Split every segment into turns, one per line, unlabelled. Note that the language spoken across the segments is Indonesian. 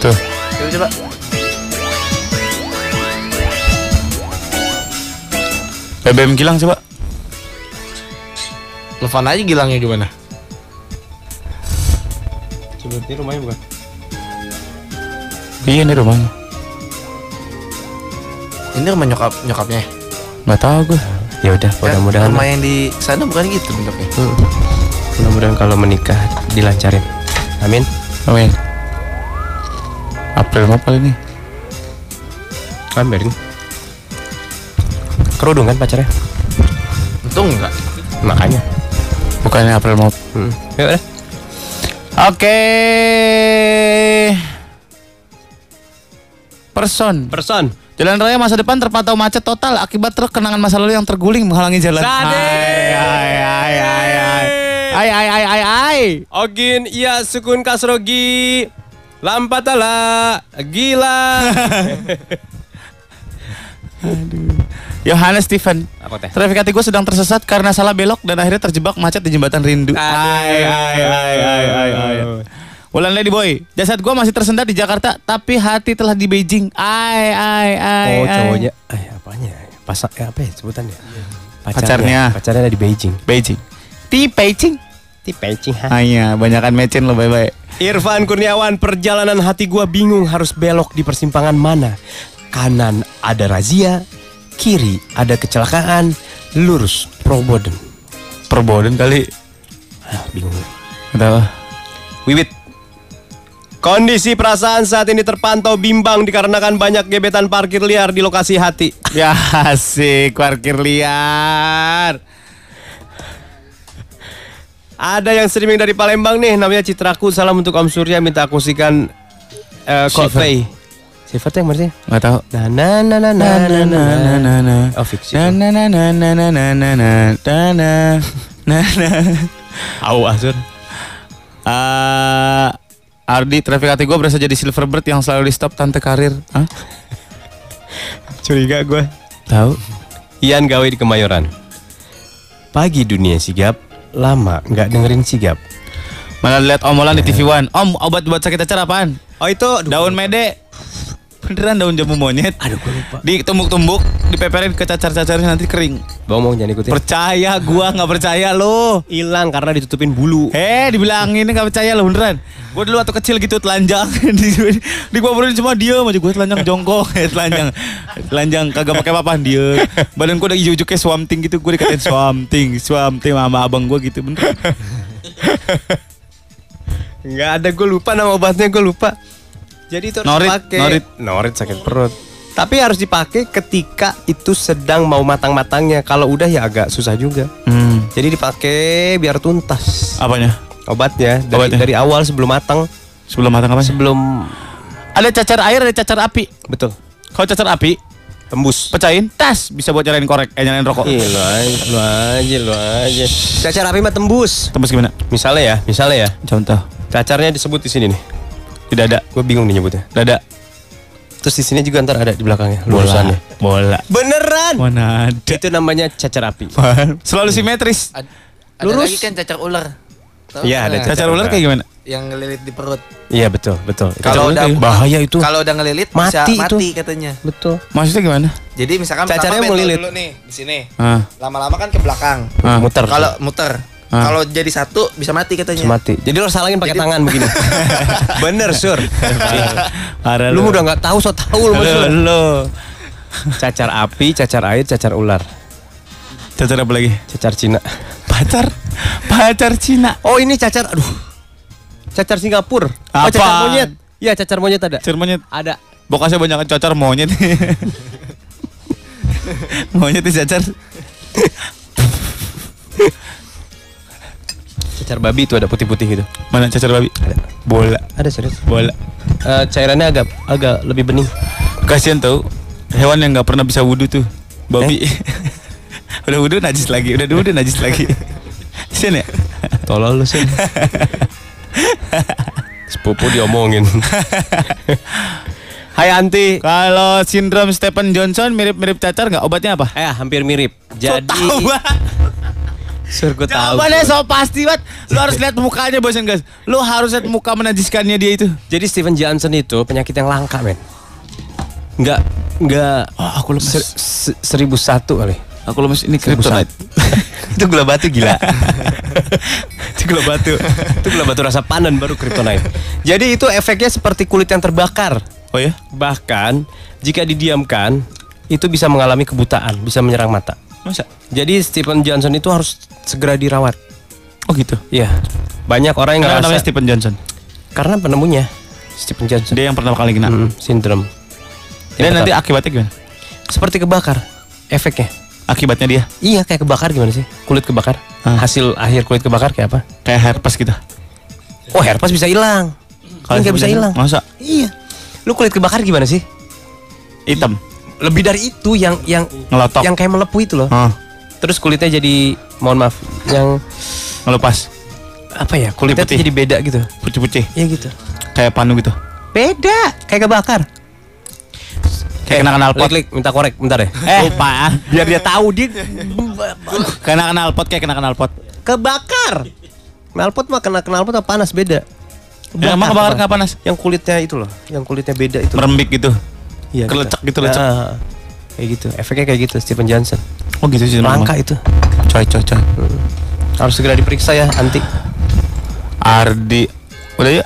Tuh.
Coba coba.
BBM Eh, Gilang coba.
Telepon aja
ya,
Gilangnya gimana?
Coba ini rumahnya bukan?
Iya ini rumahnya.
Ini rumah nyokap nyokapnya.
Nggak tahu gue.
Ya udah,
ya,
mudah-mudahan.
rumah yang di sana bukan gitu bentuknya.
Hmm. Mudah-mudahan kalau menikah dilancarin. Amin.
Amin. April apa ini?
Amin. Kerudung kan pacarnya? Hmm.
Untung enggak.
Makanya.
Bukannya April mau?
Hmm. Ya udah.
Oke. Person.
Person.
Jalan raya masa depan terpantau macet total akibat truk kenangan masa lalu yang terguling menghalangi jalan. Hai, hai, hai, hai, hai. Hai, hai, hai, hai, hai.
Ogin iya sukun kasrogi. Lampatala gila.
Yohanes Steven.
Apa teh?
Trafik hati gue sedang tersesat karena salah belok dan akhirnya terjebak macet di jembatan rindu. Hai, hai, hai, hai, hai, hai. Ulan Lady Boy, jasad gue masih tersendat di Jakarta, tapi hati telah di Beijing. Ai, ai, ai.
Oh
ai.
cowoknya, eh apanya? Pasak eh, apa ya sebutannya?
Pacarnya.
Pacarnya ada di Beijing.
Beijing. Di Beijing.
Di Beijing. Ha?
Hanya banyakan mecin lo bye-bye.
Irfan Kurniawan, perjalanan hati gua bingung harus belok di persimpangan mana. Kanan ada razia, kiri ada kecelakaan, lurus Proboden.
Perboden kali.
Ah, bingung.
Entahlah.
Wiwit. Kondisi perasaan saat ini terpantau bimbang dikarenakan banyak gebetan parkir liar di lokasi hati.
Ya asik parkir liar.
Ada yang streaming dari Palembang nih, namanya Citraku. Salam untuk Om Surya, minta akusikan eh, Coldplay. Sifat yang maksudnya?
Enggak tahu.
Na na na na na na na na na. Oh, fiksi.
Na na na na na na na na na na na na na.
Au Azur.
Ah, Ardi, traffic hati gue berasa jadi Silverbird yang selalu di stop tante karir. Hah?
Curiga gue.
Tahu?
Ian gawe di Kemayoran. Pagi dunia sigap, lama nggak dengerin sigap.
Malah lihat Om Olan di TV One. Om, obat buat sakit acar apaan?
Oh itu
Daun mede. Beneran daun jamu monyet.
Aduh, gue lupa.
Ditumbuk-tumbuk, dipeperin ke cacar-cacarnya nanti kering.
Bohong, jangan ikutin.
Percaya gua nggak percaya lo.
Hilang karena ditutupin bulu.
Eh, dibilangin nggak percaya lo beneran. Gue dulu waktu kecil gitu telanjang, di, di gua baruin cuma diem aja gue telanjang jongkok, telanjang, telanjang kagak pakai papan dia. Badan gue udah hijau-hijau kayak swamting gitu, gue dikatain swamting, swamting sama abang gue gitu bener.
Nggak ada, gue lupa nama obatnya, gue lupa. Jadi itu harus
Norit,
dipakai.
norit.
norit sakit perut. Tapi harus dipakai ketika itu sedang mau matang-matangnya. Kalau udah ya agak susah juga.
Hmm,
Jadi dipakai biar tuntas
apanya?
obatnya dari,
Obatnya.
dari awal sebelum matang,
Sebelum matang apa?
sebelum
Ada cacar air, ada cacar api.
betul
Kalau cacar api,
tembus.
pecahin, tas bisa buat nyalain korek, eh nyalain rokok.
Ih, lu aja, lu aja, lu aja. Cacar api mah tembus.
Tembus gimana?
Misalnya ya, misalnya ya.
Contoh,
Cacarnya disebut di sini nih.
di dada,
Gue bingung nih nyebutnya.
dada,
Terus di sini juga ntar ada di belakangnya
bola,
lulusannya.
bola.
Beneran.
ya? Mana ada?
Itu namanya cacar api.
Selalu simetris.
Ad- ada
Lurus.
lagi kan cacar ular. Tahu
Iya, ada
nggak?
Cacar ular kayak gimana?
yang ngelilit di perut.
Iya betul, betul. Itu
Kalau udah
cacar api. bahaya itu.
Kalau udah ngelilit bisa
Mati itu.
mati katanya.
Betul.
Maksudnya gimana?
Jadi misalkan
Cacarnya
pertama bentol
melilit.
dulu nih di sini.
Ah,
Lama-lama kan ke belakang.
ah.
Muter.
Kalau muter.
Ah.
Kalau jadi satu bisa mati katanya.
mati. Jadi lo salangin pakai
Jadi-
tangan begini. Bener, Sur.
Parah
lu udah nggak tahu so tahu lu,
Lu,
Sur.
lu.
Cacar api, cacar air, cacar ular,
Cacar apa lagi?
cacar Cina.
Pacar. Pacar Cina.
Oh, ini cacar aduh. Cacar Singapura.
Apaan?
Oh, cacar monyet. Iya, cacar monyet ada.
Cacar monyet.
Ada.
Bokasnya banyak kan, cacar monyet. monyet dicacar.
Cacar babi itu ada putih-putih gitu.
Mana cacar babi?
Ada.
Bola.
Ada serius.
Bola.
Eh, cairannya agak agak lebih bening.
Kasian tau. Hewan yang nggak pernah bisa wudhu tuh. Babi.
Eh?
udah wudhu najis lagi. Udah wudhu najis lagi. Sini ya?
Tolol lu sih. Sepupu diomongin. Hai Anti.
Kalau sindrom Stephen Johnson mirip-mirip cacar nggak? Obatnya apa?
Eh, hampir mirip.
So
Jadi,
tau banget.
sur gue tahu.
Jawabannya so pasti banget. Lu harus lihat mukanya bosan guys. Lu harus lihat muka menajiskannya dia itu.
Jadi Steven Johnson itu penyakit yang langka men. Nggak nggak
Oh, aku lemes.
ser- se- seribu satu kali.
aku lemes ini kryptonite.
itu gula batu gila. itu gula batu. Itu gula batu rasa panen baru kryptonite. Jadi itu efeknya seperti kulit yang terbakar.
Oh ya?
Bahkan jika didiamkan itu bisa mengalami kebutaan, bisa menyerang mata.
Masa?
Jadi Stephen Johnson itu harus segera dirawat.
Oh gitu.
Iya. Banyak orang yang
Kenapa namanya
ngerasa
Stephen Johnson?
karena penemunya Stephen Johnson
Dia yang pertama kali kena.
Mm, sindrom.
Hmm. Dan
Yang
nanti
pertama.
akibatnya gimana?
seperti kebakar efeknya.
Akibatnya dia
Iya kayak kebakar gimana sih? Kulit kebakar.
Ah.
Hasil akhir kulit kebakar kayak apa?
kayak herpes gitu.
Oh herpes bisa hilang. Ini nggak bisa
sebenarnya-
hilang.
Masa?
Iya. Lu kulit kebakar gimana sih?
Hitam.
Lebih dari itu yang yang
Ngelotok.
yang kayak melepuh itu loh.
Hah,
Terus kulitnya jadi mohon maaf yang
Ngelepas.
apa ya? Kulitnya tuh
Putih.
jadi beda gitu.
Pucih-pucih.
Iya gitu.
Kayak panu gitu.
Beda, kayak kebakar.
Kayak kena knalpot.
Klik, klik, minta korek, bentar ya.
Eh, lupa. Biar dia tahu dia kena knalpot kayak kena knalpot.
Kebakar. Knalpot mah kena knalpot apa panas beda.
Ya, emang kebakar nggak panas?
Yang kulitnya itu loh, yang kulitnya beda itu.
Merembik gitu.
Iya,
kelecek gitu, lecek.
Ah, kayak gitu. Efeknya kayak gitu Stephen Johnson.
Oh gitu sih.
Langka itu.
Coy, coy, coy.
Harus segera diperiksa ya anti.
Ardi. Udah ya?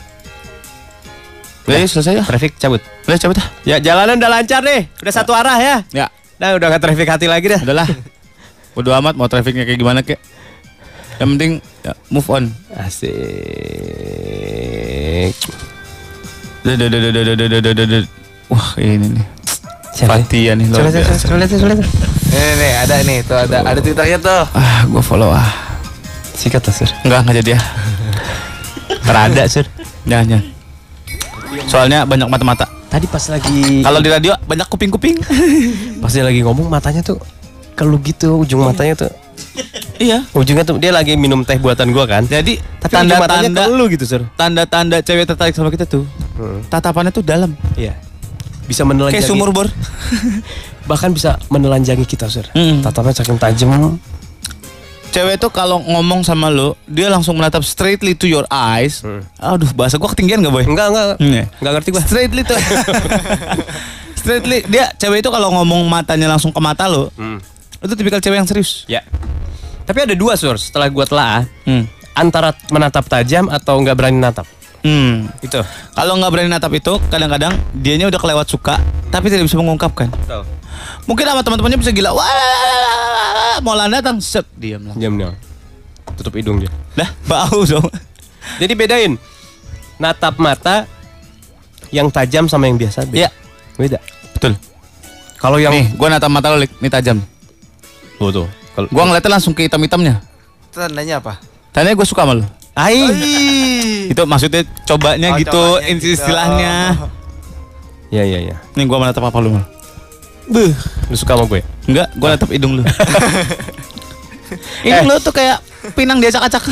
Udah ya, selesai ya?
Traffic cabut.
Udah cabut dah.
Ya jalanan udah lancar nih. Udah satu arah ya.
Ya,
Nah, udah gak traffic hati lagi dah.
udahlah. Udah amat mau trafiknya kayak gimana kek. Yang penting ya, move on.
Asik.
Duh, duh, duh, duh, duh, duh, duh, duh, duh, duh. Wah, ini nih. Fatia nih luar
Coba, coba,
biasa.
coba, coba, coba.
Nih, nih, ada nih, tuh ada ada twitternya tuh.
Ah, gua follow ah.
Sikat lah, Sir.
Enggak, enggak jadi ya.
Terada, Sir.
Jangan, jangan. Soalnya banyak mata-mata.
Tadi pas lagi
Kalau di radio banyak kuping-kuping.
pas dia lagi ngomong matanya tuh kalau gitu ujung matanya tuh
iya.
ujungnya tuh dia lagi minum teh buatan gua kan.
Jadi
Tapi ujung matanya
tanda-tanda
ke lu gitu, Sir.
tanda-tanda cewek tertarik sama kita tuh. Tatapannya tuh dalam.
Iya. Bisa menelanjangi
Kayak sumur bor.
bahkan bisa menelanjangi kita, Sir.
Mm.
Tatapnya saking tajam.
Cewek tuh kalau ngomong sama lu, dia langsung menatap straightly to your eyes.
Hmm.
Aduh, bahasa gua ketinggian gak boy?
Enggak, enggak.
Iya.
Enggak ngerti gua.
Straightly tuh. straightly dia cewek itu kalau ngomong matanya langsung ke mata lo, itu tipikal cewek yang serius.
Ya. Tapi ada dua sur setelah gua telah
Hmm.
antara menatap tajam atau nggak berani natap.
Hmm.
Itu.
Kalau nggak berani natap itu, kadang-kadang dianya udah kelewat suka, tapi tidak bisa mengungkapkan. Mungkin sama teman-temannya bisa gila. Wah, Molan datang, set diam lah.
Diam dong. Tutup hidung dia.
Dah, bau dong.
Jadi bedain natap mata yang tajam sama yang biasa.
Iya,
Beda. Beda.
betul.
Kalau yang
Nih, gua natap mata lo, Lik. Nih tajam.
tuh tuh. Kalau
Gua ngeliatnya langsung ke hitam-hitamnya.
Tandanya apa?
Tanya gue suka sama lo. Itu maksudnya cobanya
Oh,
gitu,
cobanya
inti
gitu.
istilahnya.
Iya iya iya.
Nih gua menatap apa lu? Mal?
Lu suka sama gue?
Enggak, gua natap hidung lu. Ini
Eh.
lu tuh kayak pinang diacak-acak.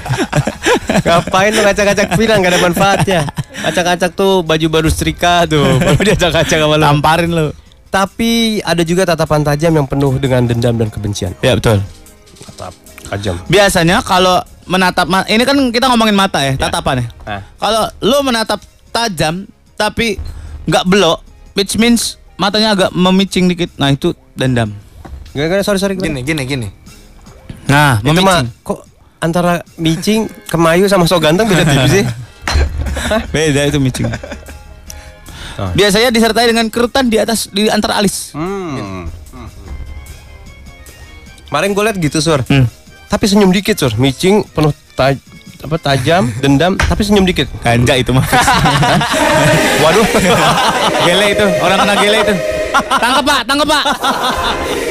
Ngapain lu ngacak-ngacak pinang gak ada manfaatnya. Acak-acak tuh baju baru setrika tuh. Baru diacak-acak sama lu.
Tamparin lu.
Tapi ada juga tatapan tajam yang penuh dengan dendam dan kebencian.
Ya betul.
Tatap tajam.
Biasanya kalau menatap ma- ini kan kita ngomongin mata ya, tatapan ya.
Ah.
Kalau lu menatap tajam tapi nggak belok, which means matanya agak memicing dikit. Nah, itu dendam.
Gak gak sorry sorry.
Gini, gini, gini.
Nah,
Itu mah
memicing.
kok antara micing, kemayu sama so ganteng beda tipis sih.
Beda itu micing. Biasanya disertai dengan kerutan di atas di antara alis.
Hmm. Kemarin gue liat gitu sur.
Hmm.
Tapi senyum dikit sur. Micing penuh taj apa tajam, dendam, tapi senyum dikit.
Ganja itu mah.
Waduh.
gele itu, orang kena gele itu. Tangkap Pak, tangkap Pak.